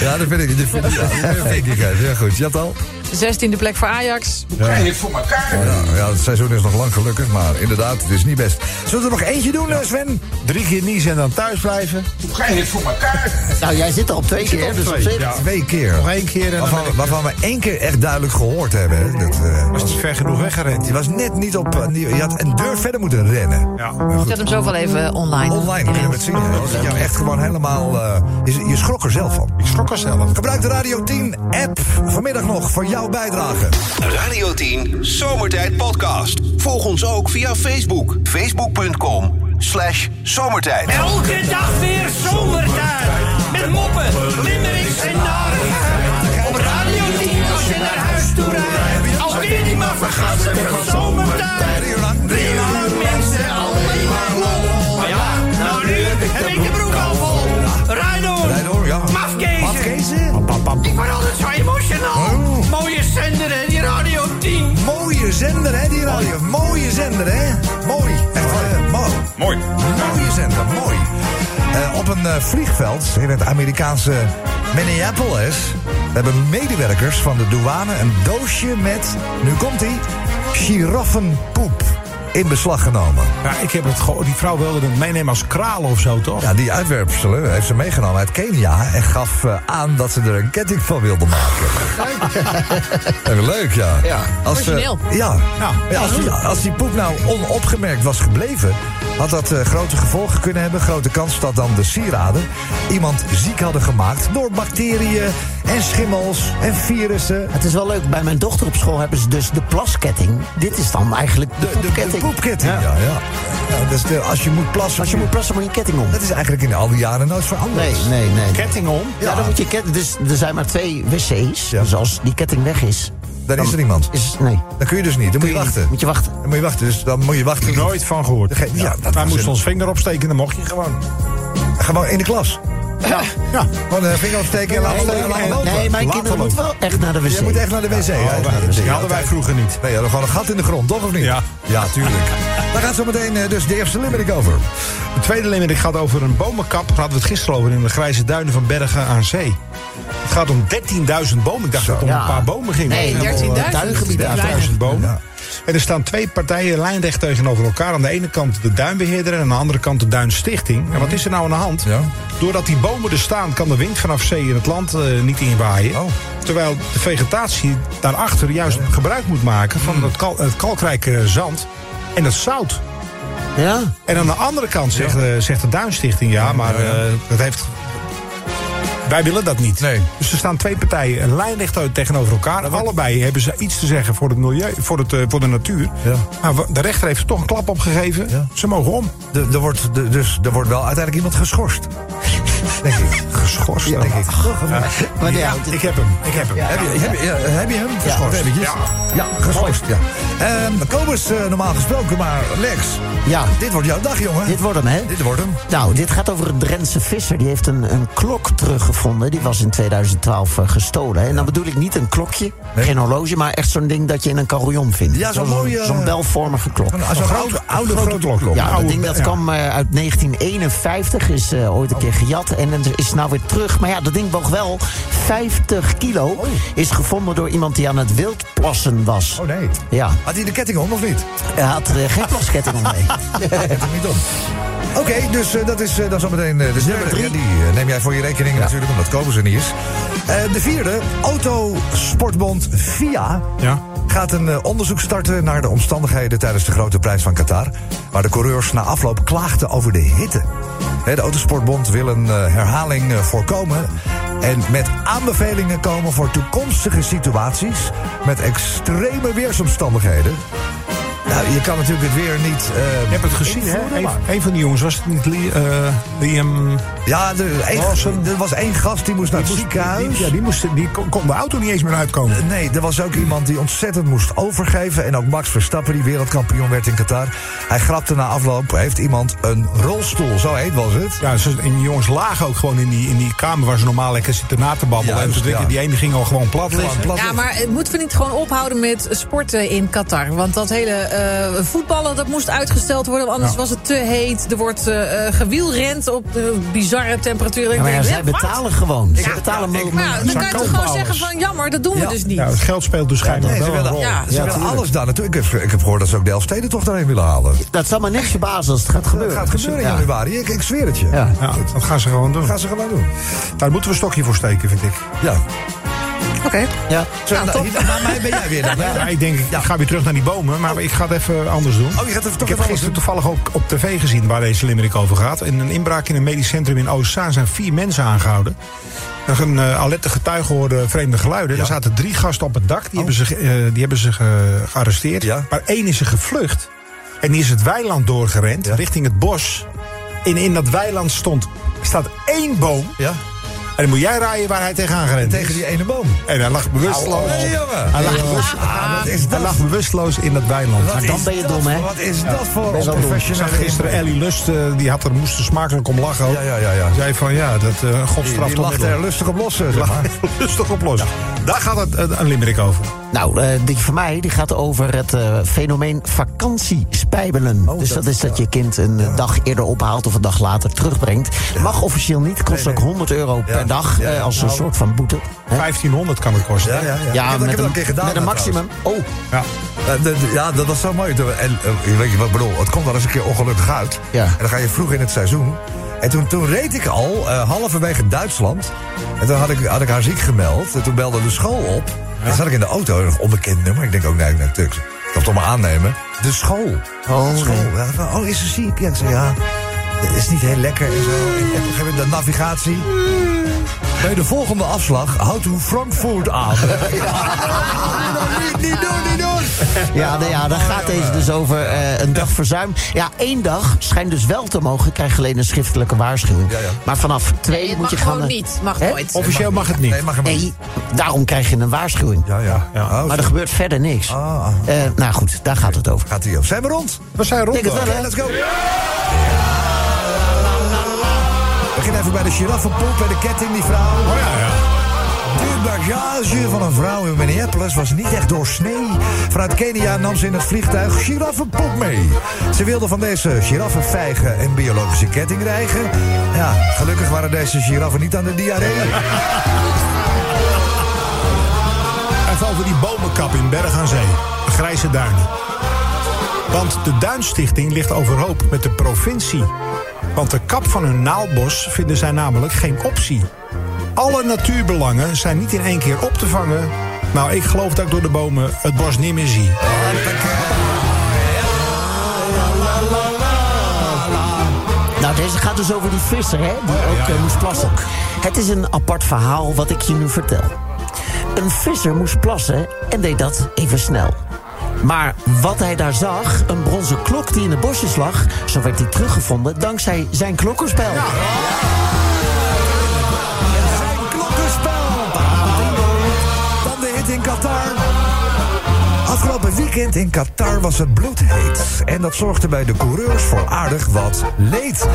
[SPEAKER 2] Ja, dat vind ik. Dat vind ik, ja, dat vind ik uit. ja, goed. Je had al.
[SPEAKER 6] 16e plek voor Ajax.
[SPEAKER 8] Hoe krijg je het voor elkaar?
[SPEAKER 2] Ja, ja, het seizoen is nog lang gelukkig, maar inderdaad, het is niet best. Zullen we er nog eentje doen, eh, Sven?
[SPEAKER 4] Drie keer niezen en dan thuis blijven.
[SPEAKER 8] Hoe krijg je het voor elkaar?
[SPEAKER 5] Nou, jij zit er op twee keer,
[SPEAKER 4] op
[SPEAKER 5] dus op
[SPEAKER 4] twee,
[SPEAKER 5] zich.
[SPEAKER 4] ja.
[SPEAKER 2] Twee keer.
[SPEAKER 4] Nog één keer en dan
[SPEAKER 2] Waarvan,
[SPEAKER 4] ben ik-
[SPEAKER 2] waarvan we één keer echt duidelijk gehoord hebben. hè. Dat, eh,
[SPEAKER 4] was het ver genoeg weggerend.
[SPEAKER 2] je was net niet op. eh, nie- je had een deur verder moeten rennen.
[SPEAKER 4] Ja.
[SPEAKER 6] Zet hem zo wel even online.
[SPEAKER 2] Online kunnen we het zien. hè. Dat het jou echt gewoon helemaal. eh, je, je schrok er zelf van.
[SPEAKER 4] Ik schrok er zelf.
[SPEAKER 2] Gebruik de Radio 10 app vanmiddag nog voor jouw bijdrage.
[SPEAKER 1] Radio 10 Zomertijd Podcast. Volg ons ook via Facebook. Facebook.com slash zomertijd.
[SPEAKER 11] Elke dag weer zomertijd. Met moppen, limmerings en narigheid. Op Radio 10 als je naar huis toe rijdt. Alweer die maar vergassen van zomertijd. Drie uur lang mensen, alleen maar lol. Maar ja, nou nu heb ik de broek al vol. Rijd door.
[SPEAKER 2] Rijd door, ja.
[SPEAKER 11] Mafkezen.
[SPEAKER 2] Afkezen?
[SPEAKER 11] Ik word altijd zo emotional.
[SPEAKER 2] Oh.
[SPEAKER 11] Mooie zender en die Radio 10.
[SPEAKER 2] Mooie zender, hè, die radio. Mooie zender, hè? Mooi. Echt eh, mooi.
[SPEAKER 3] Mooi.
[SPEAKER 2] Mooie zender, mooi. Eh, op een eh, vliegveld in het Amerikaanse Minneapolis hebben medewerkers van de douane een doosje met, nu komt ie, giraffenpoep in beslag genomen.
[SPEAKER 4] Ja, ik heb het geho- die vrouw wilde het meenemen als kralen of zo, toch?
[SPEAKER 2] Ja, die uitwerpselen heeft ze meegenomen uit Kenia en gaf eh, aan dat ze er een ketting van wilde maken. Leuk, leuk [laughs] ja. ja. Als, eh,
[SPEAKER 6] Origineel.
[SPEAKER 2] ja.
[SPEAKER 4] Ja.
[SPEAKER 2] Ja, als, die, als die poep nou onopgemerkt was gebleven, had dat eh, grote gevolgen kunnen hebben. Grote kans dat dan de sieraden iemand ziek hadden gemaakt door bacteriën en schimmels en virussen.
[SPEAKER 5] Het is wel leuk, bij mijn dochter op school hebben ze dus de plasketting. Dit is dan eigenlijk de, poepketting.
[SPEAKER 2] De poepketting, ja. ja, ja. dus de- als je moet plassen...
[SPEAKER 5] Als je moet plassen, moet je ketting om.
[SPEAKER 2] Dat is eigenlijk in al die jaren nooit veranderd.
[SPEAKER 5] Nee, nee, nee.
[SPEAKER 2] Ketting om?
[SPEAKER 5] Ja, dan moet je ketting. Dus er zijn maar twee wc's. Dus als die ketting weg is.
[SPEAKER 2] Dan is er niemand.
[SPEAKER 5] Is, nee.
[SPEAKER 2] Dan kun je dus niet. Dan moet je,
[SPEAKER 5] je
[SPEAKER 2] wachten.
[SPEAKER 5] niet. Moet je wachten.
[SPEAKER 2] Dan moet je wachten. Dus dan moet je wachten.
[SPEAKER 4] Nooit van gehoord.
[SPEAKER 2] Ja, dat
[SPEAKER 4] Wij
[SPEAKER 2] was
[SPEAKER 4] moesten
[SPEAKER 2] een-
[SPEAKER 4] ons vinger opsteken, dan mocht je gewoon.
[SPEAKER 2] Gewoon in de klas.
[SPEAKER 4] Ja. ja.
[SPEAKER 2] Gewoon eh, vinger opsteken en laten
[SPEAKER 5] Nee,
[SPEAKER 2] laten
[SPEAKER 5] nee,
[SPEAKER 2] lopen.
[SPEAKER 5] nee, mijn
[SPEAKER 2] Laten
[SPEAKER 5] kinderen moeten
[SPEAKER 2] lopen.
[SPEAKER 5] wel echt naar de wc.
[SPEAKER 2] Je moet echt naar de wc. Ja,
[SPEAKER 4] Oh,
[SPEAKER 2] naar de wc.
[SPEAKER 4] die hadden wij vroeger niet.
[SPEAKER 2] Nee, ja, gewoon een gat in de grond, toch of niet?
[SPEAKER 4] Ja.
[SPEAKER 2] Ja,
[SPEAKER 4] [laughs]
[SPEAKER 2] tuurlijk. Daar gaat zo meteen eh, dus de eerste limerick over.
[SPEAKER 4] De tweede limerick gaat over een bomenkap. Daar hadden we het gisteren over in de grijze duinen van Bergen aan Zee. Het gaat om 13.000 bomen. Ik dacht dat het om
[SPEAKER 5] Ja.
[SPEAKER 4] een paar bomen ging.
[SPEAKER 5] Nee,
[SPEAKER 4] Helemaal, eh,
[SPEAKER 6] 13.000.
[SPEAKER 5] Duingebied,
[SPEAKER 6] Ja,
[SPEAKER 5] ja.
[SPEAKER 4] 1000 bomen.
[SPEAKER 2] Ja.
[SPEAKER 4] En er staan twee partijen lijnrecht tegenover elkaar. Aan de ene kant de duinbeheerder en aan de andere kant de duinstichting. En wat is er nou aan de hand?
[SPEAKER 2] Ja.
[SPEAKER 4] Doordat die bomen er staan, kan de wind vanaf zee in het land eh, niet inwaaien.
[SPEAKER 2] Oh.
[SPEAKER 4] Terwijl de vegetatie daarachter juist gebruik moet maken
[SPEAKER 2] Hmm.
[SPEAKER 4] van het, kal- het kalkrijke zand en het zout.
[SPEAKER 5] Ja?
[SPEAKER 4] En aan de andere kant zegt, eh, zegt de Duinstichting ja, maar
[SPEAKER 2] ja, ja.
[SPEAKER 4] eh, dat heeft. Wij willen dat niet.
[SPEAKER 2] Nee.
[SPEAKER 4] Dus er staan twee partijen een lijnrecht uit tegenover elkaar. Allebei hebben ze iets te zeggen voor het milieu, voor, het, eh, voor de natuur.
[SPEAKER 2] Ja.
[SPEAKER 4] Maar wa- de rechter heeft er toch een klap op gegeven.
[SPEAKER 2] Ja.
[SPEAKER 4] Ze mogen om.
[SPEAKER 2] De- Er wordt, de- dus, er wordt wel uiteindelijk iemand geschorst. Denk ik.
[SPEAKER 4] Geschorst.
[SPEAKER 2] Ja,
[SPEAKER 4] dan.
[SPEAKER 2] denk ik. Toch, of niet?
[SPEAKER 5] Maar ja,
[SPEAKER 4] Ik heb hem. Ik heb hem.
[SPEAKER 2] Heb je, heb, je, ja, heb je hem geschorst?
[SPEAKER 4] Ja.
[SPEAKER 2] eventjes? ja geschorst. Ja. Ehm, Kobus, eh, normaal gesproken, maar Lex,
[SPEAKER 5] Ja.
[SPEAKER 2] dit wordt jouw dag, jongen.
[SPEAKER 5] Dit wordt hem, hè?
[SPEAKER 2] Dit wordt hem.
[SPEAKER 5] Nou, dit gaat over een Drentse visser. Die heeft een, een klok teruggevonden. Die was in 2012 gestolen. En dan bedoel ik niet een klokje,
[SPEAKER 2] Nee.
[SPEAKER 5] geen horloge... maar echt zo'n ding dat je in een carillon vindt.
[SPEAKER 2] Ja, zo'n mooie,
[SPEAKER 5] Zo'n
[SPEAKER 2] eh,
[SPEAKER 5] belvormige klok.
[SPEAKER 2] Zo'n zo'n grote, oude grote klok.
[SPEAKER 5] Ja,
[SPEAKER 2] Oude-
[SPEAKER 5] dat ding dat
[SPEAKER 2] ja.
[SPEAKER 5] kwam eh, uit 1951, is eh, ooit een keer gejat en het is nou weer terug. Maar ja, dat ding woog wel 50 kilo. Is gevonden door iemand die aan het wildplassen was.
[SPEAKER 2] Oh nee.
[SPEAKER 5] Ja,
[SPEAKER 2] Had hij de ketting om of [laughs] niet?
[SPEAKER 5] hij had eh, geen plasketting om
[SPEAKER 2] [laughs]
[SPEAKER 5] mee.
[SPEAKER 2] Heeft hem niet om. Oké, dus eh, dat is eh, dan zometeen eh, de derde.
[SPEAKER 5] drie.
[SPEAKER 2] Ja, die eh, neem jij voor je rekening natuurlijk, omdat Kobus er niet is. Eh, de vierde, Autosportbond FIA
[SPEAKER 4] Ja.
[SPEAKER 2] gaat een eh, onderzoek starten naar de omstandigheden tijdens de grote prijs van Qatar. Waar de coureurs na afloop klaagden over de hitte. Hè, De Autosportbond wil een eh, herhaling eh, voorkomen. En met aanbevelingen komen voor toekomstige situaties met extreme weersomstandigheden. Nou, je kan natuurlijk het weer niet. eh,
[SPEAKER 4] Je hebt het gezien, hè?
[SPEAKER 2] invloeden
[SPEAKER 4] Een,
[SPEAKER 2] maken.
[SPEAKER 4] een van die jongens was het niet Lee, eh, Liam.
[SPEAKER 2] Ja, er, één-
[SPEAKER 4] Lawson.
[SPEAKER 2] er was één gast die moest naar het
[SPEAKER 4] die moest-
[SPEAKER 2] ziekenhuis.
[SPEAKER 4] die- ja, die, moest, die kon, kon de auto niet eens meer uitkomen.
[SPEAKER 2] Nee, er was ook iemand die ontzettend moest overgeven. En ook Max Verstappen, die wereldkampioen werd in Qatar. Hij grapte na afloop, heeft iemand een rolstoel. Zo heet was het.
[SPEAKER 4] Ja, ze, en die jongens lagen ook gewoon in die, in die kamer waar ze normaal lekker zitten na te babbelen.
[SPEAKER 2] Ja,
[SPEAKER 4] en ze
[SPEAKER 2] ja.
[SPEAKER 4] denken, die ene ging al gewoon plat
[SPEAKER 2] Gewoon
[SPEAKER 4] liggen.
[SPEAKER 2] plat
[SPEAKER 6] Ja,
[SPEAKER 2] liggen.
[SPEAKER 6] maar eh, moeten we niet gewoon ophouden met sporten in Qatar? Want dat hele eh, voetballen, dat moest uitgesteld worden. want Anders
[SPEAKER 4] Ja.
[SPEAKER 6] was het te heet. Er wordt eh, eh, gewielrend op eh, bizarre temperaturen.
[SPEAKER 5] Ja, maar ja,
[SPEAKER 6] Ik denk,
[SPEAKER 5] zij
[SPEAKER 6] hè, wat?
[SPEAKER 5] betalen gewoon. Ze betalen
[SPEAKER 6] Ja,
[SPEAKER 5] miljoenen.
[SPEAKER 6] maar ja, dan kan je toch gewoon
[SPEAKER 4] Zakkoopbouwers.
[SPEAKER 6] zeggen van jammer, dat doen we
[SPEAKER 2] Ja.
[SPEAKER 6] dus niet.
[SPEAKER 4] Ja, het geld speelt dus schijnbaar
[SPEAKER 2] Nee, ze
[SPEAKER 4] wel een
[SPEAKER 2] willen,
[SPEAKER 4] rol.
[SPEAKER 6] Ja,
[SPEAKER 2] ze willen alles daar naartoe. Ik heb, ik heb gehoord dat ze ook de Elfsteden toch daarheen willen halen.
[SPEAKER 5] Dat zal maar niks verbazen als het gaat gebeuren.
[SPEAKER 2] Dat gaat gebeuren in
[SPEAKER 5] Ja.
[SPEAKER 2] januari. Ik, ik zweer het je.
[SPEAKER 5] Ja.
[SPEAKER 4] Ja, dat gaan ze gewoon doen.
[SPEAKER 2] Dat gaan ze gewoon doen.
[SPEAKER 4] Daar moeten we een stokje voor steken, vind ik.
[SPEAKER 2] Ja.
[SPEAKER 6] Oké.
[SPEAKER 5] Ja.
[SPEAKER 2] Zo,
[SPEAKER 6] Nou,
[SPEAKER 2] nou,
[SPEAKER 6] top.
[SPEAKER 2] hier- maar mij ben jij weer dan. hè?
[SPEAKER 4] Ja, ik denk, ik ga weer terug naar die bomen, maar ik ga het even anders doen.
[SPEAKER 2] Oh, je gaat even toch
[SPEAKER 4] ik heb
[SPEAKER 2] even
[SPEAKER 4] gisteren toevallig ook op tv gezien waar deze limerick over gaat. In een inbraak in een medisch centrum in Oostzaan zijn vier mensen aangehoorden. Er een eh, alerte getuige hoorde vreemde geluiden. Er zaten drie gasten op het dak, die hebben ze, ge- eh, die hebben ze ge- gearresteerd.
[SPEAKER 2] Oh. Ja.
[SPEAKER 4] Maar één is er gevlucht en die is het weiland doorgerend
[SPEAKER 2] Ja.
[SPEAKER 4] richting het bos. En in dat weiland stond, staat één boom.
[SPEAKER 2] Ja.
[SPEAKER 4] En dan moet jij rijden waar hij tegenaan gerend is.
[SPEAKER 2] Tegen die ene boom.
[SPEAKER 4] En hij lag bewusteloos.
[SPEAKER 2] Nee, jongen.
[SPEAKER 4] Hij lag, bewust-
[SPEAKER 2] Ah, wat is
[SPEAKER 4] hij
[SPEAKER 2] dat?
[SPEAKER 4] lag bewusteloos in dat weiland.
[SPEAKER 2] Wat
[SPEAKER 4] Maar
[SPEAKER 5] dan
[SPEAKER 2] is
[SPEAKER 5] ben je
[SPEAKER 2] dat
[SPEAKER 5] dom, hè?
[SPEAKER 2] voor- Wat is dat voor
[SPEAKER 4] dan-
[SPEAKER 2] een
[SPEAKER 4] Ik
[SPEAKER 2] professional
[SPEAKER 4] zag gisteren Ellie Lust, eh, die had er, moest er smakelijk om lachen. ook.
[SPEAKER 2] Ja, ja, ja, ja.
[SPEAKER 4] Die Zei van ja, dat eh God
[SPEAKER 2] Die,
[SPEAKER 4] straft
[SPEAKER 2] die lacht er
[SPEAKER 4] onmiddellijk.
[SPEAKER 2] lustig op los, zeg maar.
[SPEAKER 4] [laughs] Rustig oplossen. Daar gaat het, eh, een limerick over.
[SPEAKER 5] Nou, eh, die van mij die gaat over het eh, fenomeen vakantiespijbelen.
[SPEAKER 2] Oh,
[SPEAKER 5] dus dat, is dat je kind een eh, dag eerder ophaalt of een dag later terugbrengt. Mag officieel niet, kost ook 100 euro per dag
[SPEAKER 2] Ja, ja.
[SPEAKER 5] eh, als een
[SPEAKER 2] Nou.
[SPEAKER 5] soort van boete. Hè?
[SPEAKER 4] 1500 kan het kosten.
[SPEAKER 2] Ja, ja, ja. ik heb, dat- ik heb
[SPEAKER 5] met
[SPEAKER 2] dat
[SPEAKER 5] een,
[SPEAKER 2] een keer gedaan.
[SPEAKER 5] met een
[SPEAKER 2] nou,
[SPEAKER 5] maximum. Oh,
[SPEAKER 4] Ja.
[SPEAKER 2] trouwens. Eh, d- Ja, dat was zo mooi. Toen- En eh, weet je wat ik bedoel? Het komt wel eens een keer ongelukkig uit.
[SPEAKER 5] Ja.
[SPEAKER 2] En dan ga je vroeg in het seizoen. En toen, toen reed ik al eh, halverwege Duitsland. En toen had ik, had ik haar ziek gemeld. En toen belde de school op. En toen zat ik in de auto, een onbekend nummer. Ik denk ook, nee, nee, Turks. Dat toch maar aannemen. De school. Oh, school. Ja, oh, is ze ziek? Ja, ik zei, ja. Is niet heel lekker en zo. [laughs] En op een gegeven moment de navigatie. Bij de volgende afslag houdt u Frankfurt aan. Niet doen, niet doen!
[SPEAKER 5] Ja, nou ja, daar gaat deze dus over eh, een dag verzuim. Ja, één dag schijnt dus wel te mogen. Krijg je alleen een schriftelijke waarschuwing. Maar vanaf twee
[SPEAKER 6] Nee, het
[SPEAKER 5] moet je
[SPEAKER 6] mag
[SPEAKER 5] gaan...
[SPEAKER 6] gewoon
[SPEAKER 5] eh,
[SPEAKER 6] niet. Mag
[SPEAKER 5] hè?
[SPEAKER 6] nooit.
[SPEAKER 5] Nee, daarom krijg je een waarschuwing.
[SPEAKER 2] Ja, ja. Ah,
[SPEAKER 5] maar er gebeurt verder niks.
[SPEAKER 2] Oh.
[SPEAKER 5] Eh, nou goed, daar gaat het over.
[SPEAKER 2] Gaat hij over. Zijn we rond?
[SPEAKER 5] We zijn rond.
[SPEAKER 2] Oké, let's go. We beginnen even bij de giraffenpoep, bij de ketting, die vrouw. Oh ja, ja. De bagage van een vrouw in Minneapolis was niet echt doorsnee. Vanuit Kenia nam ze in het vliegtuig giraffenpoep mee. Ze wilde van deze giraffen vijgen en biologische ketting rijgen. Ja, gelukkig waren deze giraffen niet aan de diarree.
[SPEAKER 4] Even over die bomenkap in Berg aan Zee. De grijze duinen. Want de Duinstichting ligt overhoop met de provincie. Want de kap van hun naalbos vinden zij namelijk geen optie. Alle natuurbelangen zijn niet in één keer op te vangen. Nou, ik geloof dat ik door de bomen het bos niet meer zie.
[SPEAKER 5] Nou, deze gaat dus over die visser, hè? Die ook eh, moest plassen. Het is een apart verhaal wat ik je nu vertel. Een visser moest plassen en deed dat even snel. Maar wat hij daar zag, een bronzen klok die in de bosjes lag... zo werd hij teruggevonden dankzij zijn klokkenspel.
[SPEAKER 2] Dan de hit in Qatar. Afgelopen weekend in Qatar was het bloedheet. En dat zorgde bij de coureurs voor aardig wat leed.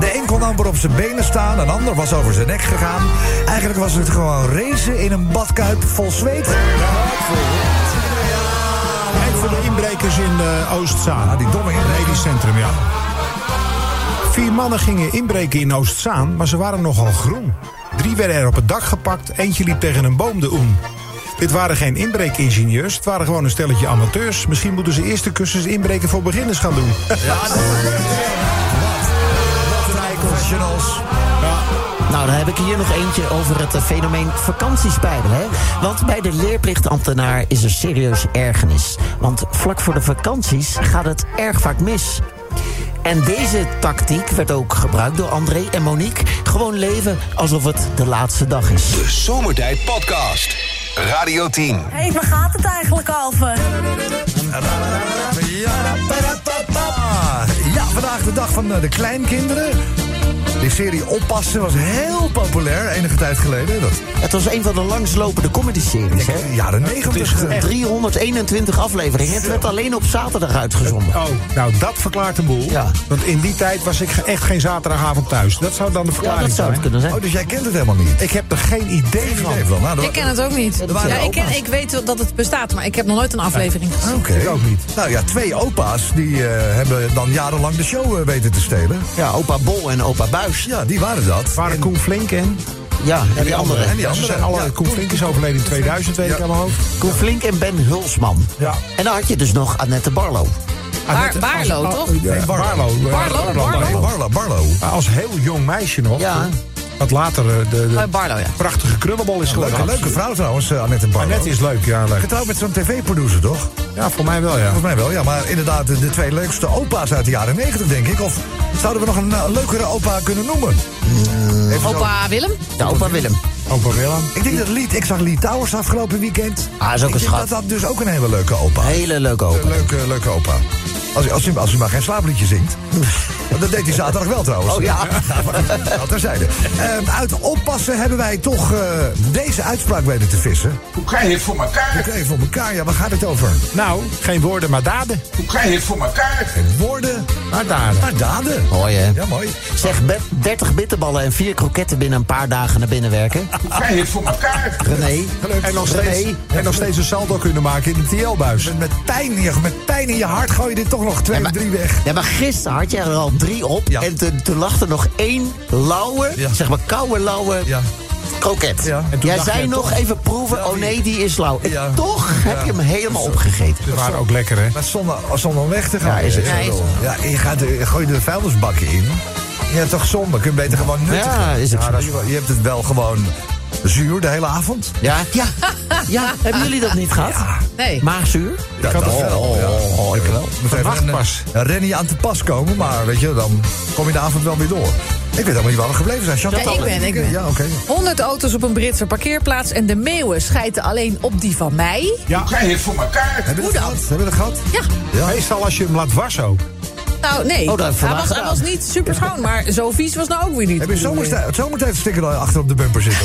[SPEAKER 2] De een kon amper op zijn benen staan, een ander was over zijn nek gegaan. Eigenlijk was het gewoon racen in een badkuip vol zweet.
[SPEAKER 4] En voor de inbrekers in eh Oostzaan. die domme inbrekers. centrum, ja. Vier mannen gingen inbreken in Oostzaan, maar ze waren nogal groen. Drie werden er op het dak gepakt, eentje liep tegen een boom de oem. Dit waren geen inbreekingenieurs, het waren gewoon een stelletje amateurs. Misschien moeten ze eerst de kussens inbreken voor beginners gaan doen.
[SPEAKER 2] Professionals.
[SPEAKER 5] Nou, dan heb ik hier nog eentje over het eh, fenomeen vakantiespijbel. Hè? Want bij de leerplichtambtenaar is er serieus ergernis. Want vlak voor de vakanties gaat het erg vaak mis. En deze tactiek werd ook gebruikt door André en Monique. Gewoon leven alsof het de laatste dag is.
[SPEAKER 1] De Zomertijd Podcast. Radio 10.
[SPEAKER 10] Hé, hey, waar gaat het eigenlijk over?
[SPEAKER 2] Ja, vandaag de dag van eh, de kleinkinderen. Die serie Oppassen was heel populair enige tijd geleden. Dat...
[SPEAKER 5] Het was een van de langslopende comedy-series, hè?
[SPEAKER 2] Jaren 90.
[SPEAKER 5] Het is eh, 321 afleveringen. Het werd alleen op zaterdag uitgezonden.
[SPEAKER 4] [laughs] Oh, nou dat verklaart de boel. Want in die tijd was ik ge- echt geen zaterdagavond thuis. Dat zou dan de verklaring
[SPEAKER 5] dat zou het
[SPEAKER 4] zijn.
[SPEAKER 5] kunnen zijn. Oh,
[SPEAKER 2] dus jij kent het helemaal niet? Nou,
[SPEAKER 4] Ik heb er geen idee van.
[SPEAKER 6] ik ken het ook niet.
[SPEAKER 2] waren
[SPEAKER 6] Ja, ik,
[SPEAKER 2] opa's.
[SPEAKER 6] ken, ik weet wel dat het bestaat, maar ik heb nog nooit een aflevering gezien.
[SPEAKER 2] Oké. ook niet. Nou ja, twee opa's die eh, hebben dan jarenlang de show eh, weten te stelen.
[SPEAKER 5] Ja, opa Bol en opa Buis.
[SPEAKER 2] Ja, die waren dat.
[SPEAKER 4] Waren Koen Flink en...
[SPEAKER 5] Ja, en die andere.
[SPEAKER 2] En die andere.
[SPEAKER 4] Ze zijn alle,
[SPEAKER 2] Ja.
[SPEAKER 4] Koen Flink is overleden in 2000, weet ik aan mijn hoofd.
[SPEAKER 5] Koen Flink en Ben Hulsman.
[SPEAKER 4] Ja.
[SPEAKER 5] En dan had je dus nog Annette Barlo.
[SPEAKER 6] Bar- Barlo, toch?
[SPEAKER 4] Nee, Barlo.
[SPEAKER 6] Barlo, Barlo.
[SPEAKER 4] Barlo.
[SPEAKER 2] Barlo,
[SPEAKER 4] Als heel jong meisje nog.
[SPEAKER 5] Ja.
[SPEAKER 4] Wat later eh, de, de
[SPEAKER 6] Oh, Barlo, ja.
[SPEAKER 4] prachtige krullenbal is geworden.
[SPEAKER 2] Leuke, leuke vrouw trouwens, eh, Annette Barlo.
[SPEAKER 4] Annette is leuk, ja. Leuk.
[SPEAKER 2] Getrouwd met zo'n tv-producer, toch?
[SPEAKER 4] Ja, voor mij wel, ja.
[SPEAKER 2] Volgens mij wel, ja. Maar inderdaad, de, de twee leukste opa's uit de jaren 90, denk ik. Of zouden we nog een eh, leukere opa kunnen noemen? Even zo-
[SPEAKER 6] Opa Willem?
[SPEAKER 5] Ja, opa Willem.
[SPEAKER 4] Opa Willem.
[SPEAKER 2] Ik denk dat Lied, ik zag Lied Towers afgelopen weekend.
[SPEAKER 5] Ah, is ook
[SPEAKER 2] ik
[SPEAKER 5] een
[SPEAKER 2] denk dat
[SPEAKER 5] schat.
[SPEAKER 2] dat dus ook een hele leuke opa is.
[SPEAKER 5] Hele leuke opa.
[SPEAKER 2] Een leuke, eh, leuke opa. Als, als, hij, als hij maar geen slaapliedje zingt. Want dat deed hij zaterdag wel trouwens. [laughs]
[SPEAKER 5] Oh ja.
[SPEAKER 2] Maar Dat terzijde. Ehm, uit oppassen hebben wij toch eh, deze uitspraak weten te vissen.
[SPEAKER 8] Hoe krijg je het voor
[SPEAKER 2] Oké,
[SPEAKER 8] elkaar?
[SPEAKER 2] voor elkaar. Ja, waar gaat het over?
[SPEAKER 4] Nou, geen woorden, maar daden.
[SPEAKER 8] Hoe krijg je het voor elkaar?
[SPEAKER 2] Woorden,
[SPEAKER 4] Maar daden.
[SPEAKER 2] maar daden. Oh,
[SPEAKER 5] Mooi, hè?
[SPEAKER 2] Ja, mooi.
[SPEAKER 5] Zeg, be- 30 bitterballen en 4 kroketten binnen een paar dagen naar binnen werken.
[SPEAKER 8] Hoe krijg je het voor elkaar?
[SPEAKER 5] René.
[SPEAKER 4] En nog, steeds,
[SPEAKER 5] René.
[SPEAKER 4] en nog steeds een saldo kunnen maken in de TL-buis.
[SPEAKER 2] Met pijn, in je- met pijn in je hart gooi je dit toch nog twee,
[SPEAKER 5] Ja, maar-
[SPEAKER 2] drie weg.
[SPEAKER 5] Ja, maar gisteren had je er al drie op.
[SPEAKER 2] Ja.
[SPEAKER 5] En toen, toen lag er nog één lauwe,
[SPEAKER 2] Ja.
[SPEAKER 5] zeg maar koude lauwe
[SPEAKER 2] Ja.
[SPEAKER 5] kroket.
[SPEAKER 2] Ja. En
[SPEAKER 4] toen
[SPEAKER 5] Jij
[SPEAKER 4] dacht
[SPEAKER 5] zei
[SPEAKER 4] jij
[SPEAKER 5] nog
[SPEAKER 4] toch-
[SPEAKER 5] even proeven. oh nee, die is lauw. En
[SPEAKER 2] Ja.
[SPEAKER 5] toch heb je hem helemaal
[SPEAKER 4] Ze
[SPEAKER 5] opgegeten.
[SPEAKER 4] waren ook lekker, hè?
[SPEAKER 2] Maar zonder, zonder om weg te gaan.
[SPEAKER 5] Ja, is het.
[SPEAKER 2] Ja,
[SPEAKER 5] Ja, is het.
[SPEAKER 2] ja, je gaat er- je gooit de vuilnisbakken in. Ja, toch zonde. Kun je beter gewoon nuttig
[SPEAKER 5] Ja, is het.
[SPEAKER 2] je, je hebt het wel gewoon Zuur de hele avond.
[SPEAKER 5] Ja, ja. ja. hebben jullie dat niet gehad?
[SPEAKER 6] Nee.
[SPEAKER 5] Maagzuur?
[SPEAKER 2] Ja, dat wel. Oh, ja. ik wel. Moet even een, een rennie aan te pas komen, maar weet je, dan kom je de avond wel weer door. Ik weet helemaal niet waar we gebleven zijn. Chantal,
[SPEAKER 6] Ja, ik ben, ik ben.
[SPEAKER 2] Ja, oké.
[SPEAKER 6] 100 auto's op een Britse parkeerplaats en de meeuwen schijten alleen op die van mij.
[SPEAKER 4] Ja.
[SPEAKER 8] Hoe krijg je het voor elkaar?
[SPEAKER 2] Hebben we dat gehad? Hebben we dat gehad?
[SPEAKER 6] Ja.
[SPEAKER 4] Meestal als je hem laat wassen ook.
[SPEAKER 6] Nou, nee.
[SPEAKER 2] Oh, dat
[SPEAKER 6] hij,
[SPEAKER 2] verbaast
[SPEAKER 6] was, hij
[SPEAKER 2] me.
[SPEAKER 6] was niet super schoon, maar zo vies was nou ook weer niet.
[SPEAKER 2] Heb je zomertijd, het zomertijdsticker dan achter op de bumper
[SPEAKER 4] [laughs]
[SPEAKER 2] zitten?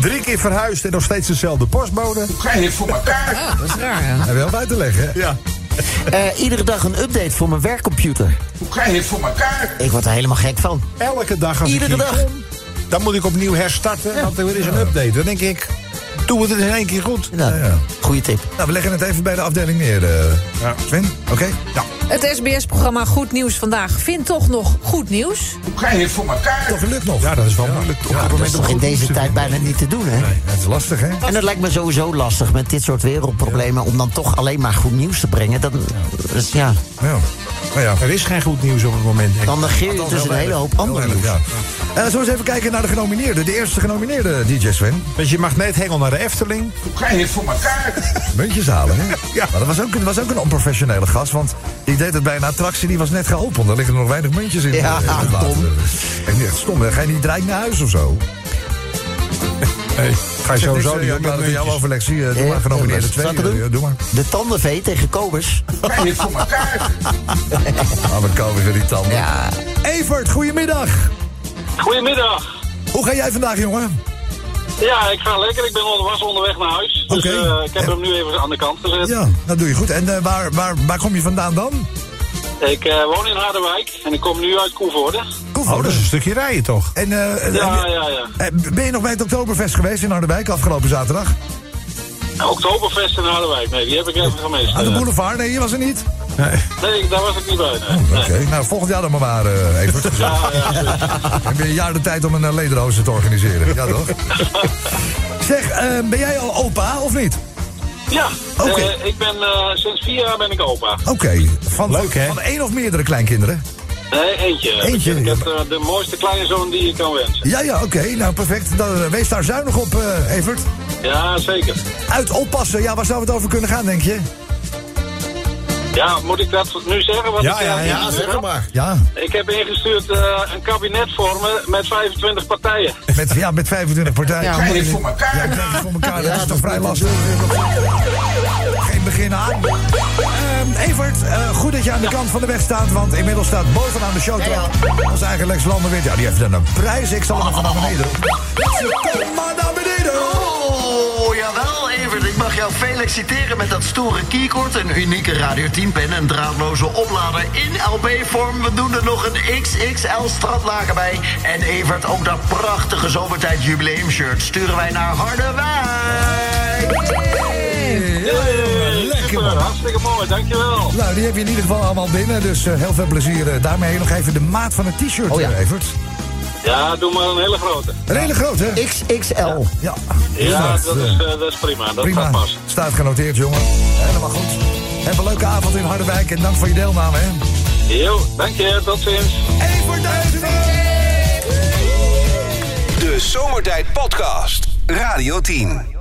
[SPEAKER 2] Drie keer verhuisd en nog steeds dezelfde postbode.
[SPEAKER 8] Krijg je het voor elkaar?
[SPEAKER 6] Ja, dat is raar, ja.
[SPEAKER 2] Heb je wel uit te leggen, hè?
[SPEAKER 4] Ja.
[SPEAKER 5] Eh, iedere dag een update voor mijn werkcomputer.
[SPEAKER 8] Hoe krijg je het voor elkaar?
[SPEAKER 5] Ik word er helemaal gek van.
[SPEAKER 4] Elke dag als
[SPEAKER 5] Iedere
[SPEAKER 4] ik hier
[SPEAKER 5] dag.
[SPEAKER 4] kom, dan moet ik opnieuw herstarten. Want er is een update. Dan denk ik, doe het in één keer goed.
[SPEAKER 5] Nou, Goeie tip.
[SPEAKER 2] Nou, we leggen het even bij de afdeling neer, eh, Sven. Oké? Ja.
[SPEAKER 6] Het SBS-programma Goed Nieuws Vandaag vindt toch nog goed nieuws.
[SPEAKER 8] Hoe krijg je het voor elkaar?
[SPEAKER 2] Dat lukt nog.
[SPEAKER 4] Ja, dat is wel moeilijk. Op dit
[SPEAKER 5] Dat is
[SPEAKER 4] moment om
[SPEAKER 5] toch in
[SPEAKER 4] goed nieuws
[SPEAKER 5] deze
[SPEAKER 4] te
[SPEAKER 5] tijd
[SPEAKER 4] vinden.
[SPEAKER 5] bijna niet te doen, hè?
[SPEAKER 2] Dat is lastig, hè?
[SPEAKER 5] En dat lijkt me sowieso lastig met dit soort wereldproblemen... om dan toch alleen maar goed nieuws te brengen. Dat, dat is, ja,
[SPEAKER 2] Ja. Nou ja.
[SPEAKER 4] Er is geen goed nieuws op het moment. denk ik.
[SPEAKER 5] dan negeer je
[SPEAKER 2] Althans,
[SPEAKER 5] dus
[SPEAKER 2] heel
[SPEAKER 5] een hele
[SPEAKER 2] weinig.
[SPEAKER 5] hoop ander
[SPEAKER 2] Heel weinig,
[SPEAKER 5] nieuws.
[SPEAKER 2] ja. Eh, zullen we eens even kijken naar de genomineerden? De eerste genomineerde, DJ Sven.
[SPEAKER 4] Dus je mag net hengel naar de Efteling.
[SPEAKER 8] Hoe krijg je het voor elkaar?
[SPEAKER 2] Muntjes halen, hè? Ja. Maar dat was ook, een- was ook een onprofessionele gast, want die deed het bij een attractie die was net geopend. Daar liggen er nog weinig muntjes in.
[SPEAKER 5] Ja,
[SPEAKER 2] eh, in het water.
[SPEAKER 5] dom.
[SPEAKER 2] Ik dacht, stom, hè? ga je niet direct naar huis of zo?
[SPEAKER 4] Ga je sowieso niet
[SPEAKER 2] Ik
[SPEAKER 4] op
[SPEAKER 2] laat het
[SPEAKER 4] met
[SPEAKER 2] eh, met jou
[SPEAKER 4] muntjes.
[SPEAKER 2] overleg. Zie je, doe
[SPEAKER 5] Eh,
[SPEAKER 2] maar genomineerde
[SPEAKER 5] zal
[SPEAKER 2] twee.
[SPEAKER 5] ik het doen?
[SPEAKER 2] eh, Doe maar.
[SPEAKER 5] De tandenvee tegen Kobus.
[SPEAKER 8] Hoe krijg je het voor elkaar?
[SPEAKER 2] Ah, we komen weer die tanden. Evert, goedemiddag.
[SPEAKER 12] Goedemiddag.
[SPEAKER 2] Hoe ga jij vandaag, jongen?
[SPEAKER 12] Ja, ik ga lekker. Ik ben onder, was onderweg naar huis. Dus
[SPEAKER 2] Oké.
[SPEAKER 12] eh, ik heb hem nu even aan de kant gezet.
[SPEAKER 2] Ja, dat doe je goed. En eh, waar, waar, waar kom je vandaan dan?
[SPEAKER 12] Ik eh, woon in Harderwijk en ik kom nu uit Koevoorde.
[SPEAKER 4] Oh, dat is een stukje rijden toch?
[SPEAKER 2] En, eh,
[SPEAKER 12] Ja,
[SPEAKER 2] en-
[SPEAKER 12] ja, ja.
[SPEAKER 2] eh, ben je nog bij het Oktoberfest geweest in Harderwijk afgelopen zaterdag?
[SPEAKER 12] Oktoberfest in Harderwijk. Nee, die heb ik even gemist.
[SPEAKER 2] Aan de
[SPEAKER 12] Eh,
[SPEAKER 2] boulevard? Nee, je was er niet?
[SPEAKER 12] nee, daar was ik niet bij. nee.
[SPEAKER 2] Oké, nou volgend jaar dan maar maar, eh Evert. [laughs] Heb je een jaar de tijd om een eh, lederhozen te organiseren? Ja, toch? zeg, eh, ben jij al opa of niet?
[SPEAKER 12] Ja,
[SPEAKER 2] Oké.
[SPEAKER 12] eh, ik ben, eh, sinds vier jaar ben ik opa.
[SPEAKER 2] Oké, van,
[SPEAKER 4] Leuk, hè?
[SPEAKER 2] van één of meerdere kleinkinderen?
[SPEAKER 12] Nee, eentje.
[SPEAKER 2] Eentje,
[SPEAKER 12] Ik heb
[SPEAKER 2] ja.
[SPEAKER 12] eh, de mooiste kleine zoon die je kan wensen.
[SPEAKER 2] Ja, ja, oké. Nou, perfect. Dan, eh, wees daar zuinig op, eh, Evert.
[SPEAKER 12] Ja, zeker.
[SPEAKER 2] Uit oppassen. Ja, waar zou het over kunnen gaan, denk je?
[SPEAKER 12] Ja, moet ik dat nu zeggen? Wat ik, eh, niet wil?
[SPEAKER 4] maar.
[SPEAKER 2] Ja,
[SPEAKER 12] Ik heb ingestuurd eh, een kabinet vormen met 25 partijen.
[SPEAKER 2] met, ja, met 25 partijen.
[SPEAKER 6] Ja,
[SPEAKER 2] Ja,
[SPEAKER 8] Hoe krijg je het voor
[SPEAKER 2] ja,
[SPEAKER 8] elkaar?
[SPEAKER 2] krijg je voor elkaar. dat is toch vrij lastig. Geen begin aan. Ehm, Evert, eh, goed dat je aan de kant van de weg staat, want inmiddels staat bovenaan de showtrap ons eigen Lex Lander weer. Ja, die heeft dan een prijs. Ik zal hem even naar beneden doen. Ze komt maar naar beneden.
[SPEAKER 13] Oh, jawel, Evert. Ik mag jou veel exciteren met dat stoere keycord, een unieke Radio 10-pen en draadloze oplader in LB-vorm. We doen er nog een XXL-stratlager bij. En Evert, ook dat prachtige zomertijd-jubileum-shirt sturen wij naar Harderwijk.
[SPEAKER 2] Lekker
[SPEAKER 12] Super,
[SPEAKER 2] man.
[SPEAKER 12] hartstikke mooi, dankjewel.
[SPEAKER 2] Nou, die heb je in ieder geval allemaal binnen, dus eh, heel veel plezier eh, daarmee. Nog even de maat van het t-shirt,
[SPEAKER 5] Oh, ja.
[SPEAKER 2] eh, Evert.
[SPEAKER 12] Ja, doe maar een hele grote.
[SPEAKER 2] Een hele grote, hè?
[SPEAKER 5] XXL.
[SPEAKER 2] Ja,
[SPEAKER 12] Ja,
[SPEAKER 2] Inderdaad,
[SPEAKER 12] dat
[SPEAKER 2] eh,
[SPEAKER 12] is, eh, dat is prima. Dat
[SPEAKER 2] prima.
[SPEAKER 12] gaat pas.
[SPEAKER 2] Staat genoteerd, jongen. Helemaal goed. Heb een leuke avond in Harderwijk en dank voor je deelname, hè.
[SPEAKER 12] Jo, dank je. Tot ziens.
[SPEAKER 2] Evert Duivenberg!
[SPEAKER 1] De Zomertijd Podcast. Radio 10.